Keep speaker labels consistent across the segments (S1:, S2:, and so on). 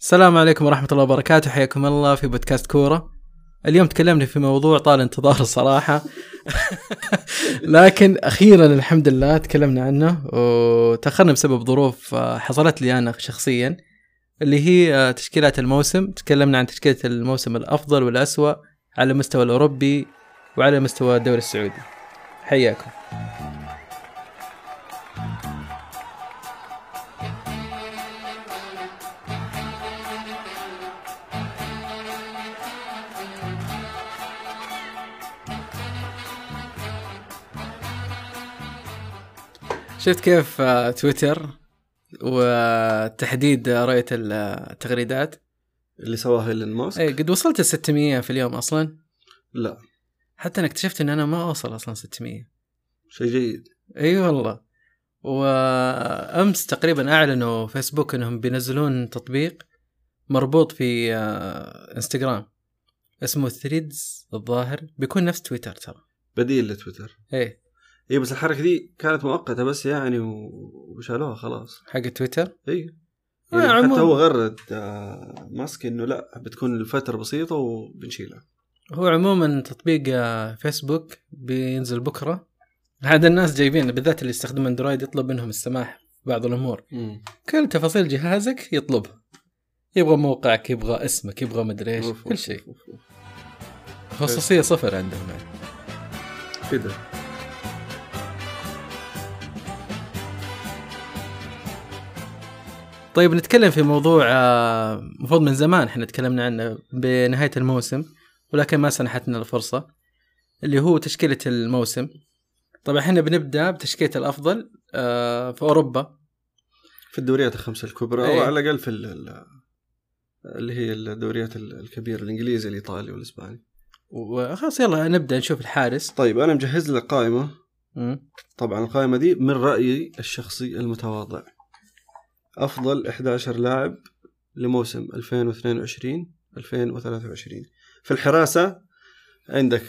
S1: السلام عليكم ورحمة الله وبركاته حياكم الله في بودكاست كورة اليوم تكلمنا في موضوع طال انتظار الصراحة لكن أخيرا الحمد لله تكلمنا عنه وتأخرنا بسبب ظروف آه، حصلت لي أنا شخصيا اللي هي آه، تشكيلات الموسم تكلمنا عن تشكيلة الموسم الأفضل والأسوأ على المستوى الأوروبي وعلى مستوى الدوري السعودي حياكم شفت كيف آه، تويتر وتحديد آه، رؤية التغريدات
S2: اللي سواها ايلون ماسك
S1: اي إيه، قد وصلت ال 600 في اليوم اصلا
S2: لا
S1: حتى انا اكتشفت ان انا ما اوصل اصلا 600
S2: شيء جيد
S1: اي والله وامس تقريبا اعلنوا فيسبوك انهم بينزلون تطبيق مربوط في آه، انستغرام اسمه ثريدز الظاهر بيكون نفس تويتر ترى
S2: بديل لتويتر
S1: ايه
S2: اي بس الحركه دي كانت مؤقته بس يعني و- وشالوها خلاص
S1: حق تويتر
S2: اي
S1: آه،
S2: يعني
S1: عموماً.
S2: حتى هو غرد آه، ماسك انه لا بتكون الفتره بسيطه وبنشيلها
S1: هو عموما تطبيق آه، فيسبوك بينزل بكره هذا الناس جايبين بالذات اللي يستخدمون اندرويد يطلب منهم السماح في بعض الامور كل تفاصيل جهازك يطلبها يبغى موقعك يبغى اسمك يبغى مدري ايش
S2: أوف،
S1: كل
S2: أوف،
S1: شيء
S2: أوف، أوف.
S1: خصوصيه صفر عندهم يعني.
S2: كذا
S1: طيب نتكلم في موضوع آه، المفروض من زمان احنا تكلمنا عنه بنهايه الموسم ولكن ما سنحتنا الفرصه اللي هو تشكيله الموسم طبعا احنا بنبدا بتشكيله الافضل آه، في اوروبا
S2: في الدوريات الخمسه الكبرى
S1: إيه.
S2: او على الاقل في ال- ال- اللي هي الدوريات ال- الكبيره الانجليزي الايطالي والاسباني
S1: وخلاص يلا نبدا نشوف الحارس
S2: طيب انا مجهز لك قائمه
S1: مم.
S2: طبعا القائمة دي من رأيي الشخصي المتواضع أفضل 11 لاعب لموسم 2022 2023 في الحراسة عندك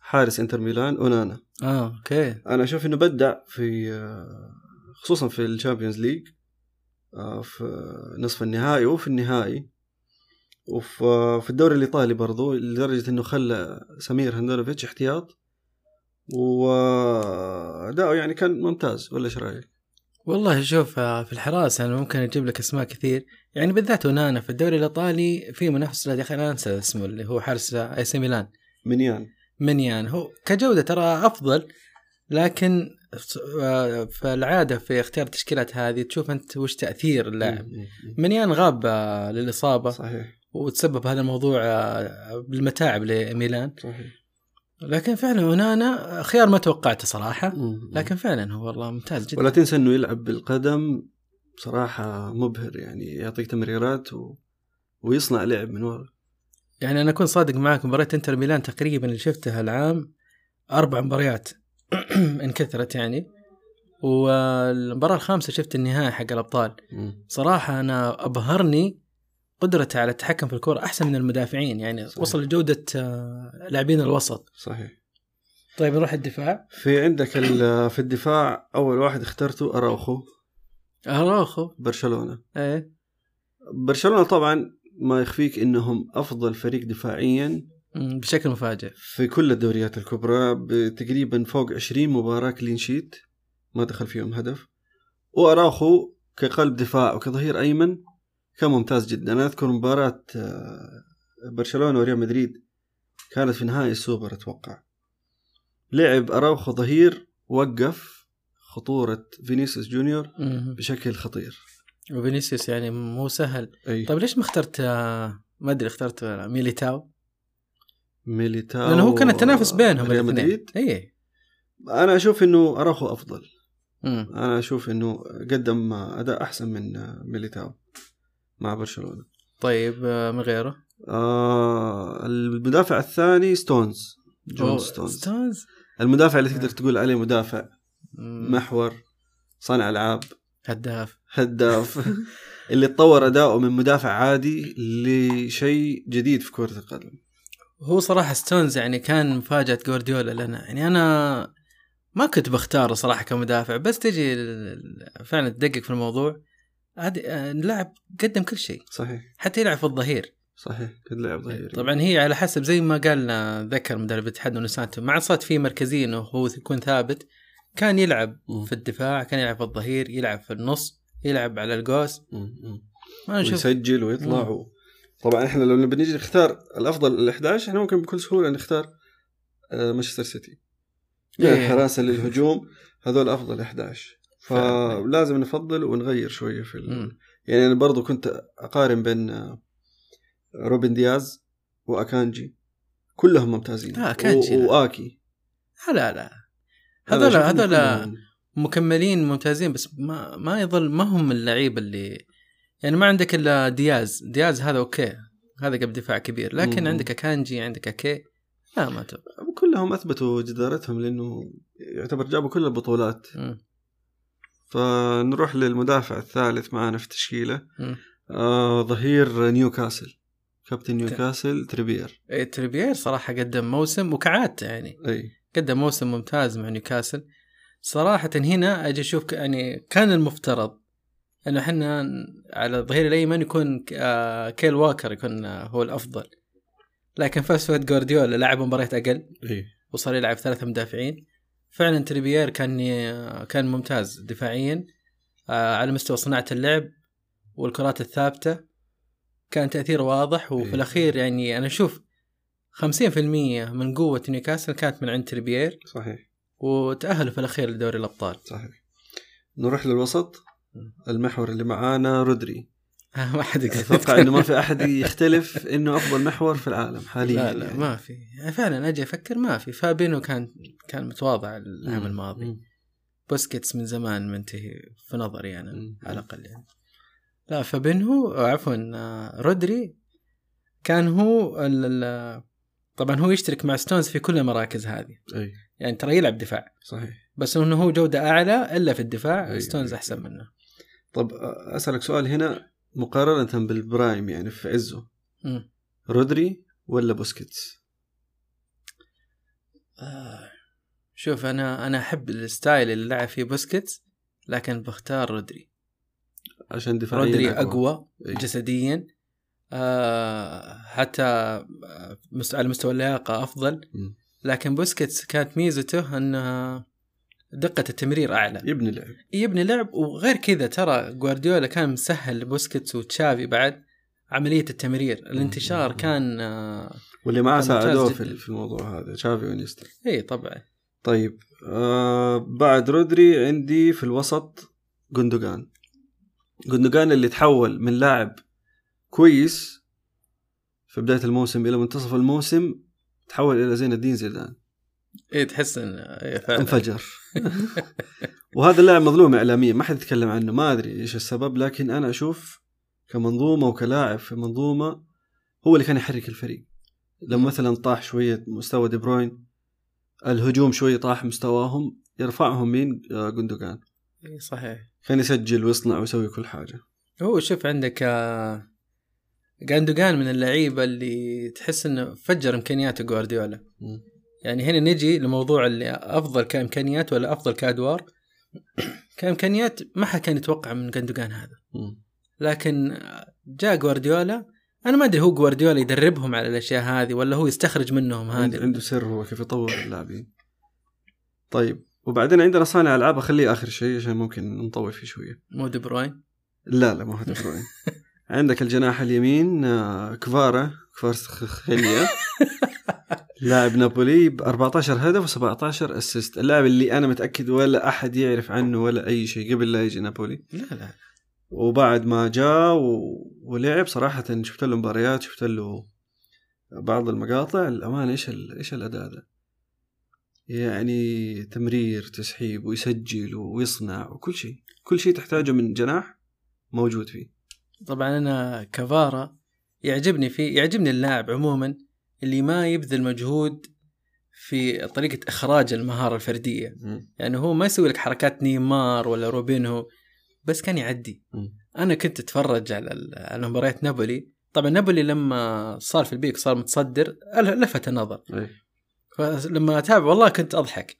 S2: حارس انتر ميلان اونانا
S1: اه اوكي
S2: انا اشوف انه بدع في خصوصا في الشامبيونز ليج آه، في نصف النهائي وفي النهائي وفي في الدوري الايطالي برضو لدرجه انه خلى سمير هندونوفيتش احتياط واداؤه يعني كان ممتاز ولا ايش رايك؟
S1: والله شوف آه، في الحراسه انا ممكن اجيب لك اسماء كثير يعني بالذات ونانا في الدوري الايطالي في منافس له، يا اخي انا انسى اسمه اللي هو حارس اي سي ميلان
S2: منيان
S1: منيان هو كجوده ترى افضل لكن ف- آه، فالعاده في اختيار التشكيلات هذه تشوف انت وش تاثير اللاعب
S2: مم.
S1: منيان غاب آه، للاصابه
S2: إيه، صحيح
S1: وتسبب هذا الموضوع آه، بالمتاعب لميلان
S2: صحيح
S1: لكن فعلا ونانا خيار ما توقعته صراحه
S2: مم.
S1: لكن فعلا هو والله ممتاز جدا
S2: ولا تنسى انه يلعب بالقدم بصراحه مبهر يعني يعطيك تمريرات و... ويصنع لعب من ورا
S1: يعني انا اكون صادق معك مباراه انتر ميلان تقريبا اللي شفتها العام اربع مباريات انكثرت يعني والمباراه الخامسه شفت النهائي حق الابطال صراحه انا ابهرني قدرته على التحكم في الكره احسن من المدافعين يعني
S2: صحيح.
S1: وصل لجوده آه، لاعبين الوسط
S2: صحيح
S1: طيب نروح الدفاع
S2: في عندك ال- في الدفاع اول واحد اخترته اراوخو
S1: اراخو
S2: برشلونه
S1: ايه
S2: برشلونه طبعا ما يخفيك انهم افضل فريق دفاعيا
S1: مم، بشكل مفاجئ
S2: في كل الدوريات الكبرى بتقريبا فوق 20 مباراه كلين شيت ما دخل فيهم هدف واراوخو كقلب دفاع وكظهير ايمن كان ممتاز جدا انا اذكر مباراه آه، برشلونه وريال مدريد كانت في نهائي السوبر اتوقع لعب اراوخو ظهير وقف خطوره فينيسيوس جونيور
S1: مم.
S2: بشكل خطير
S1: وفينيسيوس يعني مو سهل
S2: اي
S1: طيب ليش ما اخترت آه، ما ادري اخترت آه، ميليتاو
S2: ميليتاو
S1: لانه هو كان التنافس بينهم
S2: ريال
S1: الاثنين إيه.
S2: مدريد
S1: اي
S2: انا اشوف انه اراخو افضل
S1: مم.
S2: انا اشوف انه قدم اداء احسن من ميليتاو مع برشلونه
S1: طيب آه، من غيره
S2: آه المدافع الثاني ستونز جون
S1: أوه،
S2: ستونز
S1: ستونز آه.
S2: المدافع اللي تقدر تقول عليه مدافع
S1: مم.
S2: محور صانع العاب
S1: هداف
S2: هداف اللي تطور اداؤه من مدافع عادي لشيء جديد في كره القدم
S1: هو صراحة ستونز يعني كان مفاجأة جوارديولا لنا يعني أنا ما كنت بختاره صراحة كمدافع بس تجي ال- فعلا تدقق في الموضوع هذه آه، اللاعب قدم كل شيء
S2: صحيح
S1: حتى يلعب في الظهير
S2: صحيح قد
S1: طيب،
S2: لعب ظهير
S1: طبعا هي على حسب زي ما قالنا ذكر مدرب الاتحاد انه سانتو مع صارت في مركزيه انه هو يكون ثابت كان يلعب
S2: مم.
S1: في الدفاع كان يلعب في الظهير يلعب في النص يلعب على القوس
S2: مم، مم.
S1: ما نشوف
S2: ويسجل ويطلع و... طبعا احنا لو بنيجي نختار الافضل ال 11 احنا ممكن بكل سهوله نختار آه، مانشستر سيتي من
S1: إيه.
S2: الحراسه للهجوم هذول افضل 11
S1: فعلاً.
S2: فلازم نفضل ونغير شويه في ال...
S1: أيوة. مم.
S2: يعني انا برضو كنت اقارن بين آه، روبن دياز واكانجي كلهم ممتازين
S1: لا، آه، أكانجي لا.
S2: و... واكي
S1: لا لا
S2: هذا
S1: هذول
S2: أشوفهم
S1: هذول
S2: كلهم.
S1: مكملين ممتازين بس ما ما يظل ما هم اللعيبه اللي يعني ما عندك الا دياز دياز هذا اوكي هذا قبل دفاع كبير لكن
S2: مم.
S1: عندك كانجي عندك كي لا ما تبقى
S2: كلهم اثبتوا جدارتهم لانه يعتبر جابوا كل البطولات
S1: مم.
S2: فنروح للمدافع الثالث معانا في تشكيله
S1: مم.
S2: آه ظهير نيوكاسل كابتن نيوكاسل تريبير
S1: إيه، تريبيير صراحه قدم موسم وكعادته يعني
S2: اي
S1: قدم موسم ممتاز مع نيوكاسل صراحة هنا اجي اشوف ك- يعني كان المفترض انه احنا على الظهير الايمن يكون ك- آه، كيل واكر يكون آه، هو الافضل لكن فاسفورد جوارديولا لعب مباريات اقل
S2: اي
S1: وصار يلعب ثلاثة مدافعين فعلا تريبيير كان ي- كان ممتاز دفاعيا آه، على مستوى صناعة اللعب والكرات الثابتة كان تأثيره واضح وفي
S2: إيه.
S1: الأخير يعني أنا أشوف 50% من قوة نيوكاسل كانت من عند تريبيير
S2: صحيح
S1: وتأهلوا في الأخير لدوري الأبطال
S2: صحيح نروح للوسط المحور اللي معانا رودري
S1: ما حد يقدر
S2: اتوقع انه ما في احد يختلف انه افضل محور في العالم حاليا
S1: لا لا
S2: يعني.
S1: ما في يعني فعلا أجي أفكر ما في فابينو كان كان متواضع العام الماضي
S2: مم.
S1: بوسكيتس من زمان منتهي في نظري أنا
S2: مم.
S1: على الاقل يعني لا فبنهو آه، عفوا آه، رودري كان هو ال- ال- طبعا هو يشترك مع ستونز في كل المراكز هذه
S2: اي
S1: يعني ترى يلعب دفاع
S2: صحيح
S1: بس انه هو جوده اعلى الا في الدفاع
S2: أيوة.
S1: ستونز احسن منه
S2: طب آه، اسالك سؤال هنا مقارنه بالبرايم يعني في عزه
S1: مم.
S2: رودري ولا بوسكيتس
S1: آه. شوف انا انا احب الستايل اللي لعب فيه بوسكيتس لكن بختار رودري
S2: عشان دفاعيا
S1: رودري اقوى
S2: أي. نعم.
S1: جسديا آه حتى آه، مست- على مستوى اللياقه افضل
S2: مم.
S1: لكن بوسكيتس كانت ميزته انها دقة التمرير اعلى
S2: يبني لعب
S1: يبني لعب وغير كذا ترى جوارديولا كان مسهل لبوسكيتس وتشافي بعد عملية التمرير الانتشار
S2: مم.
S1: كان آه،
S2: واللي معاه
S1: كان ممتاز
S2: ساعدوه
S1: جداً.
S2: في في الموضوع هذا تشافي ونيستا
S1: اي طبعا
S2: طيب آه بعد رودري عندي في الوسط جندوجان جندوجان اللي تحول من لاعب كويس في بداية الموسم إلى منتصف الموسم تحول إلى زين الدين زيدان
S1: اي تحس ان إيه فعلا
S2: انفجر وهذا اللاعب مظلوم إعلاميا ما حد يتكلم عنه ما أدري إيش السبب لكن أنا أشوف كمنظومة وكلاعب في منظومة هو اللي كان يحرك الفريق لما مثلا طاح شوية مستوى دي بروين الهجوم شوي طاح مستواهم يرفعهم مين آه، جندوجان
S1: إيه صحيح
S2: كان يسجل ويصنع ويسوي كل حاجة
S1: هو شوف عندك آه، جاندوجان من اللعيبة اللي تحس انه فجر امكانيات جوارديولا يعني هنا نجي لموضوع اللي افضل كامكانيات ولا افضل كادوار كامكانيات ما حد كان يتوقع من جاندوجان هذا لكن آه، جاء جوارديولا انا ما ادري هو جوارديولا يدربهم على الاشياء هذه ولا هو يستخرج منهم
S2: عند-
S1: هذه
S2: عنده سر هو كيف يطور اللاعبين طيب وبعدين عندنا صانع العاب اخليه اخر شيء عشان ممكن نطول فيه شويه
S1: مو دي بروين
S2: لا لا ما هو دي بروين عندك الجناح اليمين آه، كفارا كفارسخيليا لاعب نابولي ب 14 هدف و17 اسيست اللاعب اللي انا متاكد ولا احد يعرف عنه ولا اي شيء قبل لا يجي نابولي
S1: لا لا
S2: وبعد ما جاء و... ولعب صراحه شفت له مباريات شفت له بعض المقاطع الامانه ايش ال... ايش الاداء ذا يعني تمرير تسحيب ويسجل ويصنع وكل شيء كل شيء تحتاجه من جناح موجود فيه
S1: طبعا انا كفارا يعجبني فيه يعجبني اللاعب عموما اللي ما يبذل مجهود في طريقة إخراج المهارة الفردية يعني هو ما يسوي لك حركات نيمار ولا روبينهو بس كان يعدي
S2: مم.
S1: أنا كنت أتفرج على ال- على مباريات نابولي طبعا نابولي لما صار في البيك صار متصدر لفت النظر
S2: إيه.
S1: فلما اتابع والله كنت اضحك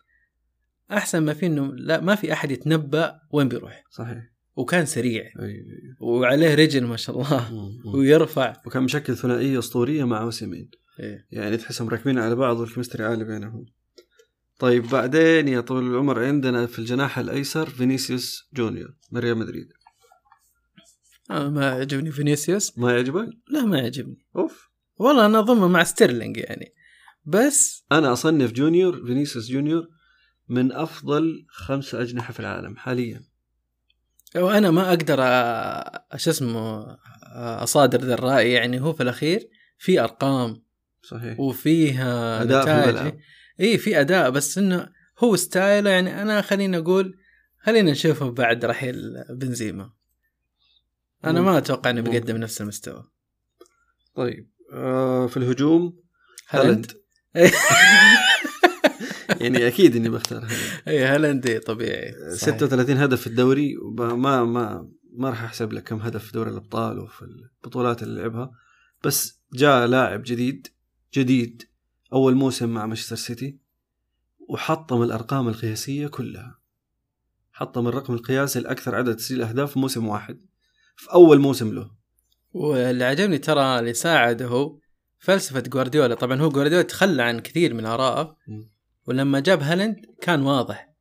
S1: احسن ما في انه لا ما في احد يتنبا وين بيروح
S2: صحيح
S1: وكان سريع
S2: أي-
S1: وعليه رجل ما شاء الله
S2: مم.
S1: ويرفع
S2: وكان مشكل ثنائيه اسطوريه مع اوسيمين
S1: إيه.
S2: يعني تحسهم راكبين على بعض والكيمستري عالي بينهم طيب بعدين يا طويل العمر عندنا في الجناح الايسر فينيسيوس جونيور من ريال مدريد
S1: آه، ما عجبني فينيسيوس
S2: ما يعجبك؟
S1: لا ما عجبني
S2: اوف
S1: والله انا اضمه مع ستيرلينج يعني بس
S2: انا اصنف جونيور فينيسيوس جونيور من افضل خمس اجنحه في العالم حاليا
S1: وانا ما اقدر أ- شو اسمه أ- اصادر ذا الراي يعني هو في الاخير في ارقام
S2: صحيح
S1: وفيه آه،
S2: أداء في
S1: نتائج.
S2: الملعب.
S1: اي في اداء بس انه هو ستايله يعني انا خليني اقول خلينا نشوفه بعد رحيل بنزيما انا ما اتوقع انه
S2: ممكن.
S1: بيقدم نفس المستوى
S2: طيب آه في الهجوم هالاند
S1: إيه.
S2: يعني اكيد اني بختار هالاند
S1: اي هالاند إيه، طبيعي صحيح.
S2: 36 هدف في الدوري وب- ما ما ما راح احسب لك كم هدف في دوري الابطال وفي البطولات اللي لعبها بس جاء لاعب جديد جديد اول موسم مع مانشستر سيتي وحطم الارقام القياسيه كلها حطم الرقم القياسي الاكثر عدد تسجيل اهداف في موسم واحد في اول موسم له
S1: واللي عجبني ترى اللي ساعده هو فلسفة جوارديولا طبعا هو جوارديولا تخلى عن كثير من آرائه
S2: مم.
S1: ولما جاب هالند كان واضح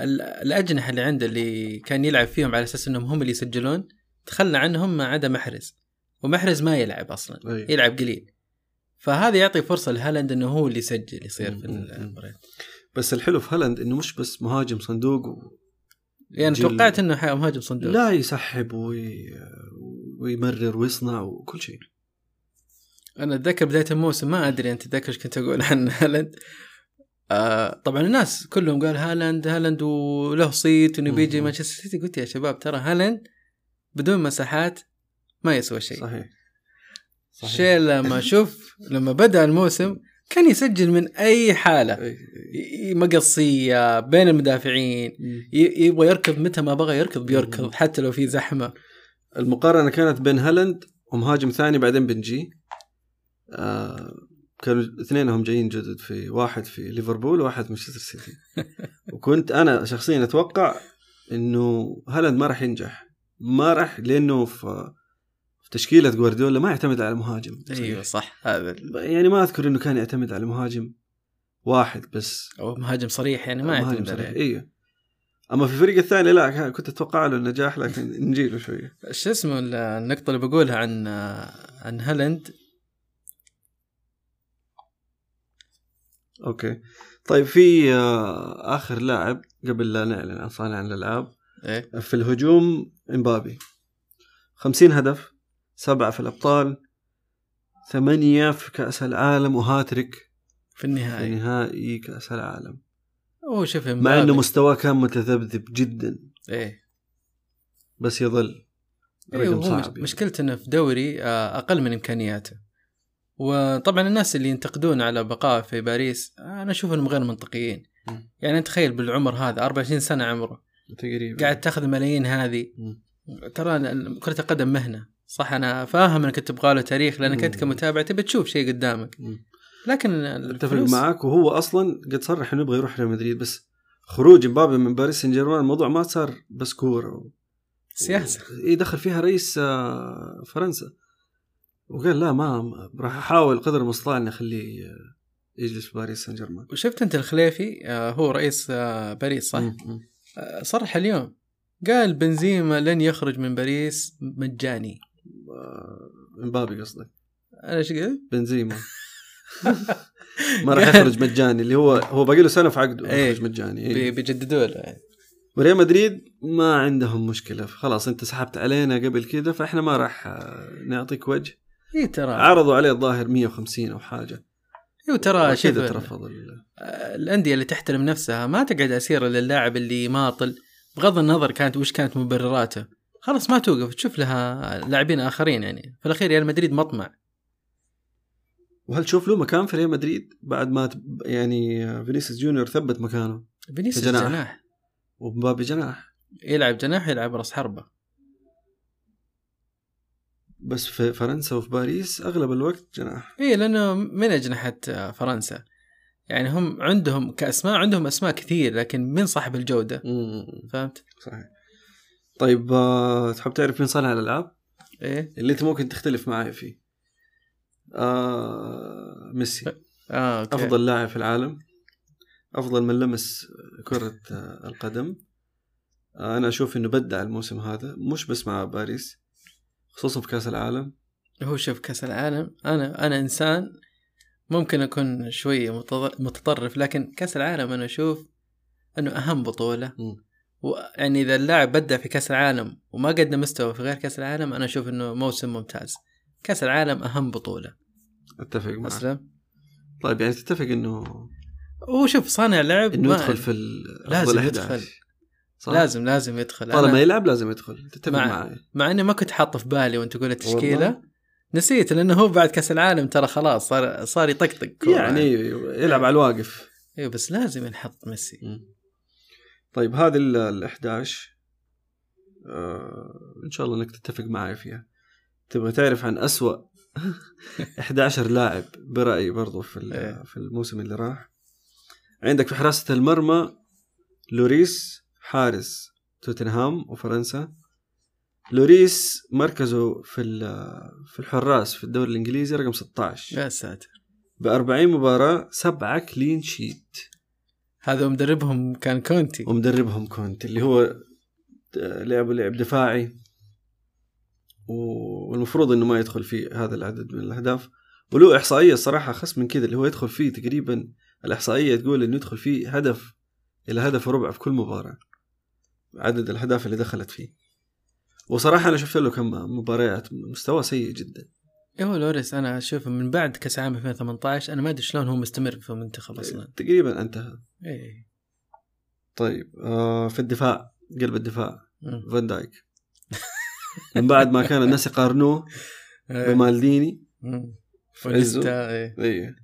S1: ال- الأجنحة اللي عنده اللي كان يلعب فيهم على أساس أنهم هم اللي يسجلون تخلى عنهم ما عدا محرز ومحرز ما يلعب أصلا
S2: أي.
S1: يلعب قليل فهذا يعطي فرصة لهالاند أنه هو اللي يسجل يصير
S2: مم.
S1: في
S2: مم.
S1: المباريات
S2: بس الحلو في هالاند انه مش بس مهاجم صندوق و...
S1: يعني
S2: جيل-
S1: توقعت أنه ح- مهاجم صندوق
S2: لا يسحب وي... ويمرر ويصنع وكل شيء
S1: انا اتذكر بدايه الموسم ما ادري انت تذكر ايش كنت اقول عن هالاند آه طبعا الناس كلهم قال هالاند هالاند وله صيت انه بيجي
S2: مم.
S1: مانشستر سيتي قلت يا شباب ترى هالاند بدون مساحات ما يسوى شيء
S2: صحيح
S1: شيء لما شوف لما بدا الموسم كان يسجل من اي حاله
S2: أي-
S1: ي- ي- مقصيه بين المدافعين
S2: أي.
S1: ي- يبغى يركض متى ما بغى يركض
S2: مم.
S1: بيركض حتى لو في زحمه
S2: المقارنه كانت بين هالاند ومهاجم ثاني بعدين بنجي آه كانوا اثنينهم جايين جدد في واحد في ليفربول وواحد في مانشستر سيتي وكنت انا شخصيا اتوقع انه هالاند ما راح ينجح ما راح لانه في في تشكيله جوارديولا ما يعتمد على مهاجم
S1: ايوه صح هذا ال-
S2: يعني ما اذكر انه كان يعتمد على مهاجم واحد بس
S1: أو مهاجم صريح يعني ما
S2: مهاجم
S1: يعتمد
S2: صريح
S1: عليه
S2: ايوه اما في الفريق الثاني لا كان- كنت اتوقع له النجاح لكن نجيله شويه
S1: شو اسمه ال- النقطة اللي بقولها عن عن هالند
S2: اوكي طيب في آه، اخر لاعب قبل لا نعلن عن صانع الالعاب
S1: ايه
S2: في الهجوم امبابي 50 هدف سبعة في الابطال ثمانية في كأس العالم وهاتريك
S1: في
S2: في
S1: النهاية
S2: نهائي كأس العالم
S1: هو شوف
S2: مع
S1: إمبابي.
S2: انه مستواه كان متذبذب جدا
S1: ايه
S2: بس يظل
S1: إيه،
S2: رقم
S1: هو مش-
S2: صعب يعني.
S1: مشكلته انه في دوري آه، اقل من امكانياته وطبعا الناس اللي ينتقدون على بقائه في باريس آه، انا اشوف انهم غير منطقيين
S2: مم.
S1: يعني تخيل بالعمر هذا 24 سنة عمره
S2: تقريبا
S1: قاعد تاخذ ملايين هذه
S2: مم.
S1: ترى ال- كرة القدم مهنة صح انا فاهم انك تبغى له تاريخ لانك انت
S2: مم.
S1: كمتابع تبي تشوف شيء قدامك
S2: مم.
S1: لكن
S2: اتفق
S1: الفلوس-
S2: معاك وهو اصلا قد صرح انه يبغى يروح ريال مدريد بس خروج مبابي من باريس سان جيرمان الموضوع ما صار بس كوره
S1: سياسة
S2: اي إيه، دخل فيها رئيس آه، فرنسا وقال لا ما ما- راح احاول قدر المستطاع اني اخليه آه، يجلس في باريس سان جيرمان
S1: وشفت انت الخليفي آه، هو رئيس آه، باريس صح؟
S2: مم، مم.
S1: آه، صرح اليوم قال بنزيما لن يخرج من باريس مجاني
S2: آه، مبابي قصدك
S1: انا ايش قلت؟
S2: بنزيما ما راح يخرج مجاني اللي هو هو باقي له سنه في عقده
S1: إيه.
S2: يخرج مجاني إيه.
S1: بي- بيجددوا له يعني.
S2: وريال مدريد ما عندهم مشكله خلاص انت سحبت علينا قبل كذا فاحنا ما راح آه، نعطيك وجه
S1: اي إيه ترى
S2: عرضوا عليه الظاهر 150 او حاجه
S1: اي ترى شوف
S2: كذا ترفض ال-
S1: آه، الانديه اللي تحترم نفسها ما تقعد اسيره للاعب اللي ماطل بغض النظر كانت وش كانت مبرراته خلاص ما توقف تشوف لها لاعبين اخرين يعني في الاخير ريال مدريد مطمع
S2: وهل تشوف له مكان في ريال مدريد بعد ما تب- يعني فينيسيوس جونيور ثبت مكانه
S1: فينيسيوس
S2: جناح.
S1: جناح.
S2: ومبابي جناح
S1: يلعب جناح يلعب راس حربه
S2: بس في فرنسا وفي باريس اغلب الوقت جناح
S1: اي لانه إيه، من اجنحه آه، فرنسا يعني هم عندهم كاسماء عندهم اسماء كثير لكن من صاحب الجوده فهمت؟
S2: صحيح طيب آه، تحب تعرف مين صانع الالعاب
S1: ايه
S2: اللي انت ممكن تختلف معي فيه آه ميسي
S1: اه أوكي.
S2: افضل لاعب في العالم افضل من لمس كره آه، القدم آه، انا اشوف انه بدع الموسم هذا مش بس مع باريس خصوصا في كاس العالم
S1: هو شوف كاس العالم انا انا انسان ممكن اكون شوي متض- متطرف لكن كاس العالم انا اشوف انه اهم بطوله
S2: مم.
S1: ويعني اذا يعني اللاعب بدع في كاس العالم وما قدم مستوى في غير كاس العالم انا اشوف انه موسم ممتاز كاس العالم اهم بطوله
S2: اتفق معك
S1: اسلم
S2: طيب يعني تتفق انه
S1: وشوف صانع لعب
S2: انه
S1: ما-
S2: يدخل في ال-
S1: لازم
S2: أفضل
S1: يدخل.
S2: 11. صح؟
S1: لازم لازم يدخل
S2: طالما
S1: أنا
S2: يلعب لازم يدخل تتفق
S1: مع-
S2: معي
S1: مع اني ما كنت حاطه في بالي وانت تقول التشكيله
S2: والله.
S1: نسيت لانه هو بعد كاس العالم ترى خلاص صار صار يطقطق كورة.
S2: يعني يلعب على الواقف
S1: ايوه بس لازم ينحط ميسي
S2: طيب هذه ال- ال 11 آه ان شاء الله انك تتفق معي فيها تبغى تعرف عن أسوأ 11 لاعب برأيي برضو في ال-
S1: إيه.
S2: في الموسم اللي راح عندك في حراسة المرمى لوريس حارس توتنهام وفرنسا لوريس مركزه في ال- في الحراس في الدوري الانجليزي رقم 16
S1: يا ساتر
S2: ب 40 مباراة سبعة كلين شيت
S1: هذا مدربهم كان كونتي
S2: ومدربهم كونت اللي هو لعبه لعب دفاعي و- والمفروض انه ما يدخل فيه هذا العدد من الاهداف وله احصائيه صراحه خص من كذا اللي هو يدخل فيه تقريبا الاحصائيه تقول انه يدخل فيه هدف الى هدف وربع في كل مباراه عدد الاهداف اللي دخلت فيه وصراحه انا شفت له كم مباريات مستوى سيء جدا
S1: ايوه لوريس انا اشوف من بعد كاس العالم 2018 انا ما ادري شلون هو مستمر في
S2: إيه.
S1: المنتخب اصلا
S2: تقريبا انتهى
S1: ايه
S2: طيب آه في الدفاع قلب الدفاع
S1: مم.
S2: فان دايك من بعد ما كان الناس يقارنوه بمالديني
S1: مم.
S2: في عزه
S1: ونيستا، إيه.
S2: اي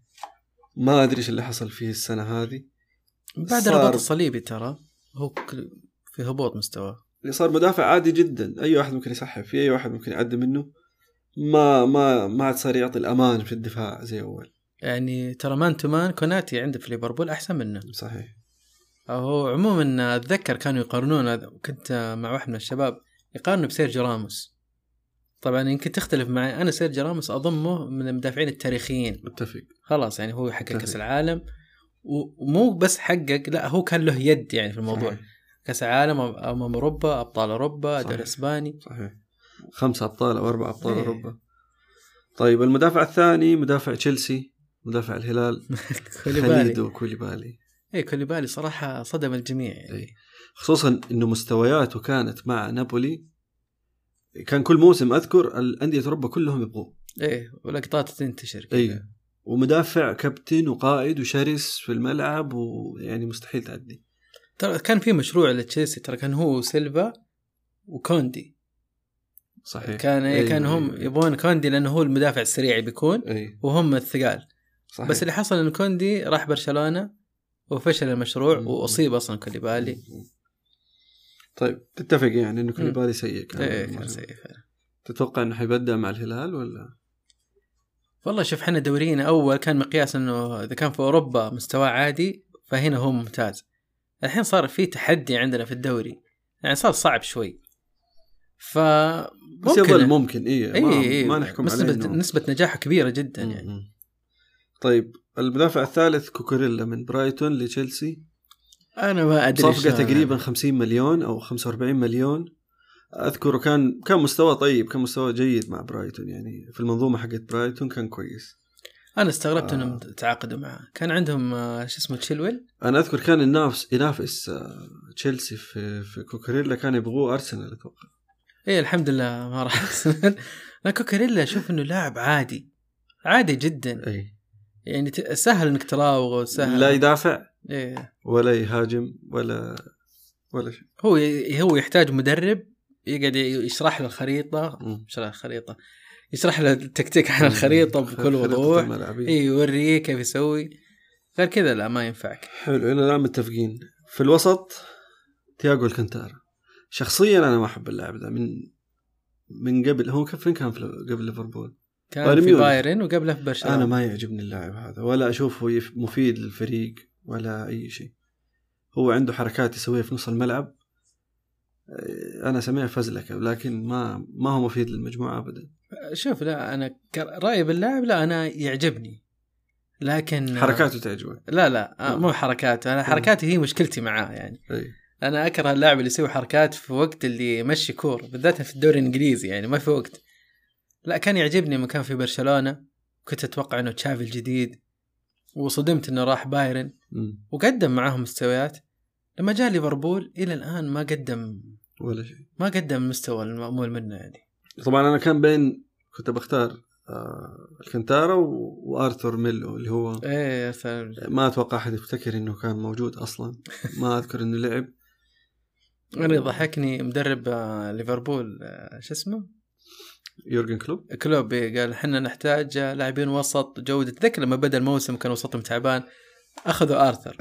S2: ما ادري ايش اللي حصل فيه السنه هذه
S1: بعد
S2: صار-
S1: الرباط الصليبي ترى هو ك- في هبوط مستواه
S2: اللي يعني صار مدافع عادي جدا اي واحد ممكن يسحب فيه اي واحد ممكن يعدي منه ما ما ما عاد صار يعطي الامان في الدفاع زي اول
S1: يعني ترى مان تو مان كوناتي عنده في ليفربول احسن منه
S2: صحيح
S1: هو عموما اتذكر كانوا يقارنون كنت مع واحد من الشباب يقارنوا بسيرجيو راموس طبعا يمكن تختلف معي انا سيرجيو راموس اضمه من المدافعين التاريخيين
S2: متفق
S1: خلاص يعني هو حقق
S2: صحيح.
S1: كاس العالم و- ومو بس حقق لا هو كان له يد يعني في الموضوع
S2: صحيح.
S1: كاس العالم أم- امم اوروبا ابطال اوروبا الدوري
S2: صحيح.
S1: الاسباني
S2: صحيح خمسه ابطال او اربع ابطال
S1: إيه.
S2: اوروبا طيب المدافع الثاني مدافع تشيلسي مدافع الهلال
S1: كوليبالي
S2: خليدو كوليبالي
S1: اي كوليبالي صراحه صدم الجميع يعني
S2: إيه. خصوصا انه مستوياته كانت مع نابولي كان كل موسم اذكر الانديه اوروبا كلهم يبغوه
S1: ايه ولقطات تنتشر كذا.
S2: اي ومدافع كابتن وقائد وشرس في الملعب ويعني مستحيل تعدي
S1: ترى كان في مشروع لتشيلسي ترى كان هو وسيلفا وكوندي
S2: صحيح
S1: كان إيه
S2: إيه،
S1: كان هم
S2: إيه.
S1: يبغون كوندي لانه هو المدافع السريع بيكون
S2: اي
S1: وهم الثقال
S2: إيه، صحيح
S1: بس اللي حصل ان كوندي راح برشلونه وفشل المشروع
S2: مم.
S1: واصيب اصلا كوليبالي
S2: طيب تتفق يعني انه كوليبالي سيء كان
S1: ايه
S2: الموسم.
S1: كان سيء فعلا
S2: تتوقع انه حيبدأ مع الهلال ولا
S1: والله شوف احنا دورينا اول كان مقياس انه اذا كان في اوروبا مستواه عادي فهنا هو ممتاز الحين صار في تحدي عندنا في الدوري يعني صار صعب شوي ف
S2: بس يظل ممكن اي
S1: اي اي
S2: ما نحكم عليه
S1: إيه، نسبة,
S2: إنه-
S1: نسبة نجاحه كبيرة جدا
S2: مم.
S1: يعني
S2: طيب المدافع الثالث كوكوريلا من برايتون لتشيلسي
S1: انا ما ادري
S2: صفقة تقريبا 50 مليون او 45 مليون اذكره كان كان مستوى طيب كان مستوى جيد مع برايتون يعني في المنظومة حقت برايتون كان كويس
S1: انا استغربت
S2: آه.
S1: انهم تعاقدوا معه كان عندهم آه، شو اسمه تشيلويل
S2: انا اذكر كان ينافس ينافس آه، تشيلسي في في كوكريلا كان يبغوه ارسنال اتوقع
S1: اي الحمد لله إيه، ما راح أرسنال. لكن كوكاريلا اشوف انه لاعب عادي عادي جدا
S2: اي
S1: يعني ت- سهل انك تراوغه سهل
S2: لا يدافع
S1: إيه.
S2: ولا يهاجم ولا ولا شيء
S1: هو هو يحتاج مدرب يقعد يشرح له الخريطه
S2: مم.
S1: يشرح له الخريطه يشرح له التكتيك على الخريطه بكل
S2: خريطة
S1: وضوح إيه.
S2: الملعبية.
S1: اي يوريه كيف يسوي غير كذا لا ما ينفعك
S2: حلو الى الان متفقين في الوسط تياجو الكنتارا شخصيا انا ما احب اللاعب ذا من من قبل هو كان فين كان في قبل ليفربول
S1: كان
S2: بايرن
S1: في
S2: ميونخ.
S1: بايرن وقبله في برشلونه
S2: انا ما يعجبني اللاعب هذا ولا اشوفه يف- مفيد للفريق ولا اي شيء هو عنده حركات يسويها في نص الملعب انا سميها فزلكه لكن ما ما هو مفيد للمجموعه ابدا
S1: شوف لا انا ك- رايي باللاعب لا انا يعجبني لكن
S2: حركاته تعجبك
S1: لا لا آه،
S2: مم.
S1: مو حركاته انا حركاتي هي مشكلتي معاه يعني
S2: اي
S1: انا اكره اللاعب اللي يسوي حركات في وقت اللي يمشي كور بالذات في الدوري الانجليزي يعني ما في وقت لا كان يعجبني لما كان في برشلونه كنت اتوقع انه تشافي الجديد وصدمت انه راح بايرن
S2: مم.
S1: وقدم معاهم مستويات لما جاء ليفربول الى الان ما قدم
S2: ولا شيء
S1: ما قدم المستوى المأمول منه يعني
S2: طبعا انا كان بين كنت بختار آه الكنتارا و... وارثur ميلو اللي هو
S1: ايه يا سلام
S2: ما اتوقع احد يفتكر انه كان موجود اصلا ما اذكر انه لعب
S1: انا اللي ضحكني مدرب آه، ليفربول آه، شو اسمه
S2: يورجن كلوب
S1: كلوب إيه، قال احنا نحتاج آه، لاعبين وسط جودة تذكر لما بدا الموسم كان وسطهم تعبان اخذوا ارثر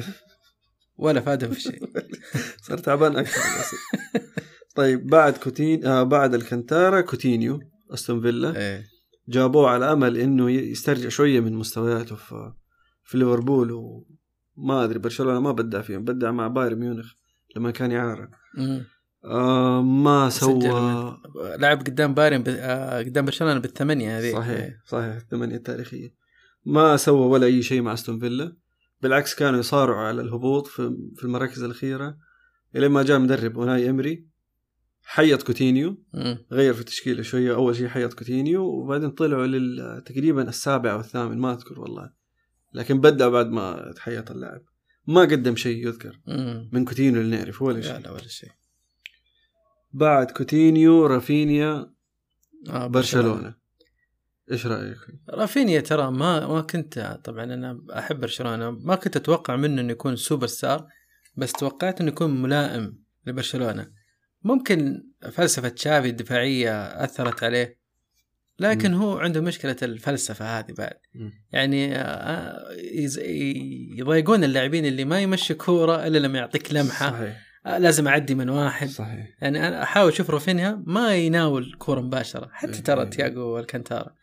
S1: ولا فادهم في شيء
S2: صار تعبان اكثر للأسف. طيب بعد كوتين آه بعد الكنتارا كوتينيو استون فيلا
S1: إيه.
S2: جابوه على امل انه ي- يسترجع شويه من مستوياته في في ليفربول وما ادري برشلونه ما بدع فيهم بدع مع بايرن ميونخ لما كان يعارض
S1: أمم.
S2: آه ما
S1: سجل
S2: سوى
S1: لعب قدام بايرن ب... آه، قدام برشلونه بالثمانيه هذه
S2: صحيح صحيح الثمانية التاريخية ما سوى ولا أي شيء مع استون فيلا بالعكس كانوا يصارعوا على الهبوط في في المراكز الأخيرة إلى ما جاء مدرب أوناي إمري حيط كوتينيو
S1: أمم.
S2: غير في التشكيلة شوية أول شيء حيط كوتينيو وبعدين طلعوا لل تقريبا السابع أو الثامن ما أذكر والله لكن بدأ بعد ما تحيط اللاعب ما قدم شيء يذكر
S1: أمم.
S2: من كوتينيو اللي نعرفه ولا
S1: لا
S2: شيء
S1: لا ولا شيء
S2: بعد كوتينيو رافينيا
S1: آه،
S2: برشلونة إيش رأيك؟
S1: رافينيا ترى ما ما كنت طبعا انا احب برشلونه ما كنت اتوقع منه انه يكون سوبر ستار بس توقعت انه يكون ملائم لبرشلونه ممكن فلسفه تشافي الدفاعيه اثرت عليه لكن هو عنده مشكله الفلسفه هذه بعد
S2: مم.
S1: يعني آه، يز- ي- يضايقون اللاعبين اللي ما يمشي كوره الا لما يعطيك لمحه
S2: صحيح
S1: آه، لازم اعدي من واحد
S2: صحيح
S1: يعني انا احاول اشوف رافينيا ما يناول كوره مباشره حتى
S2: إيه.
S1: ترى تياجو والكانتارا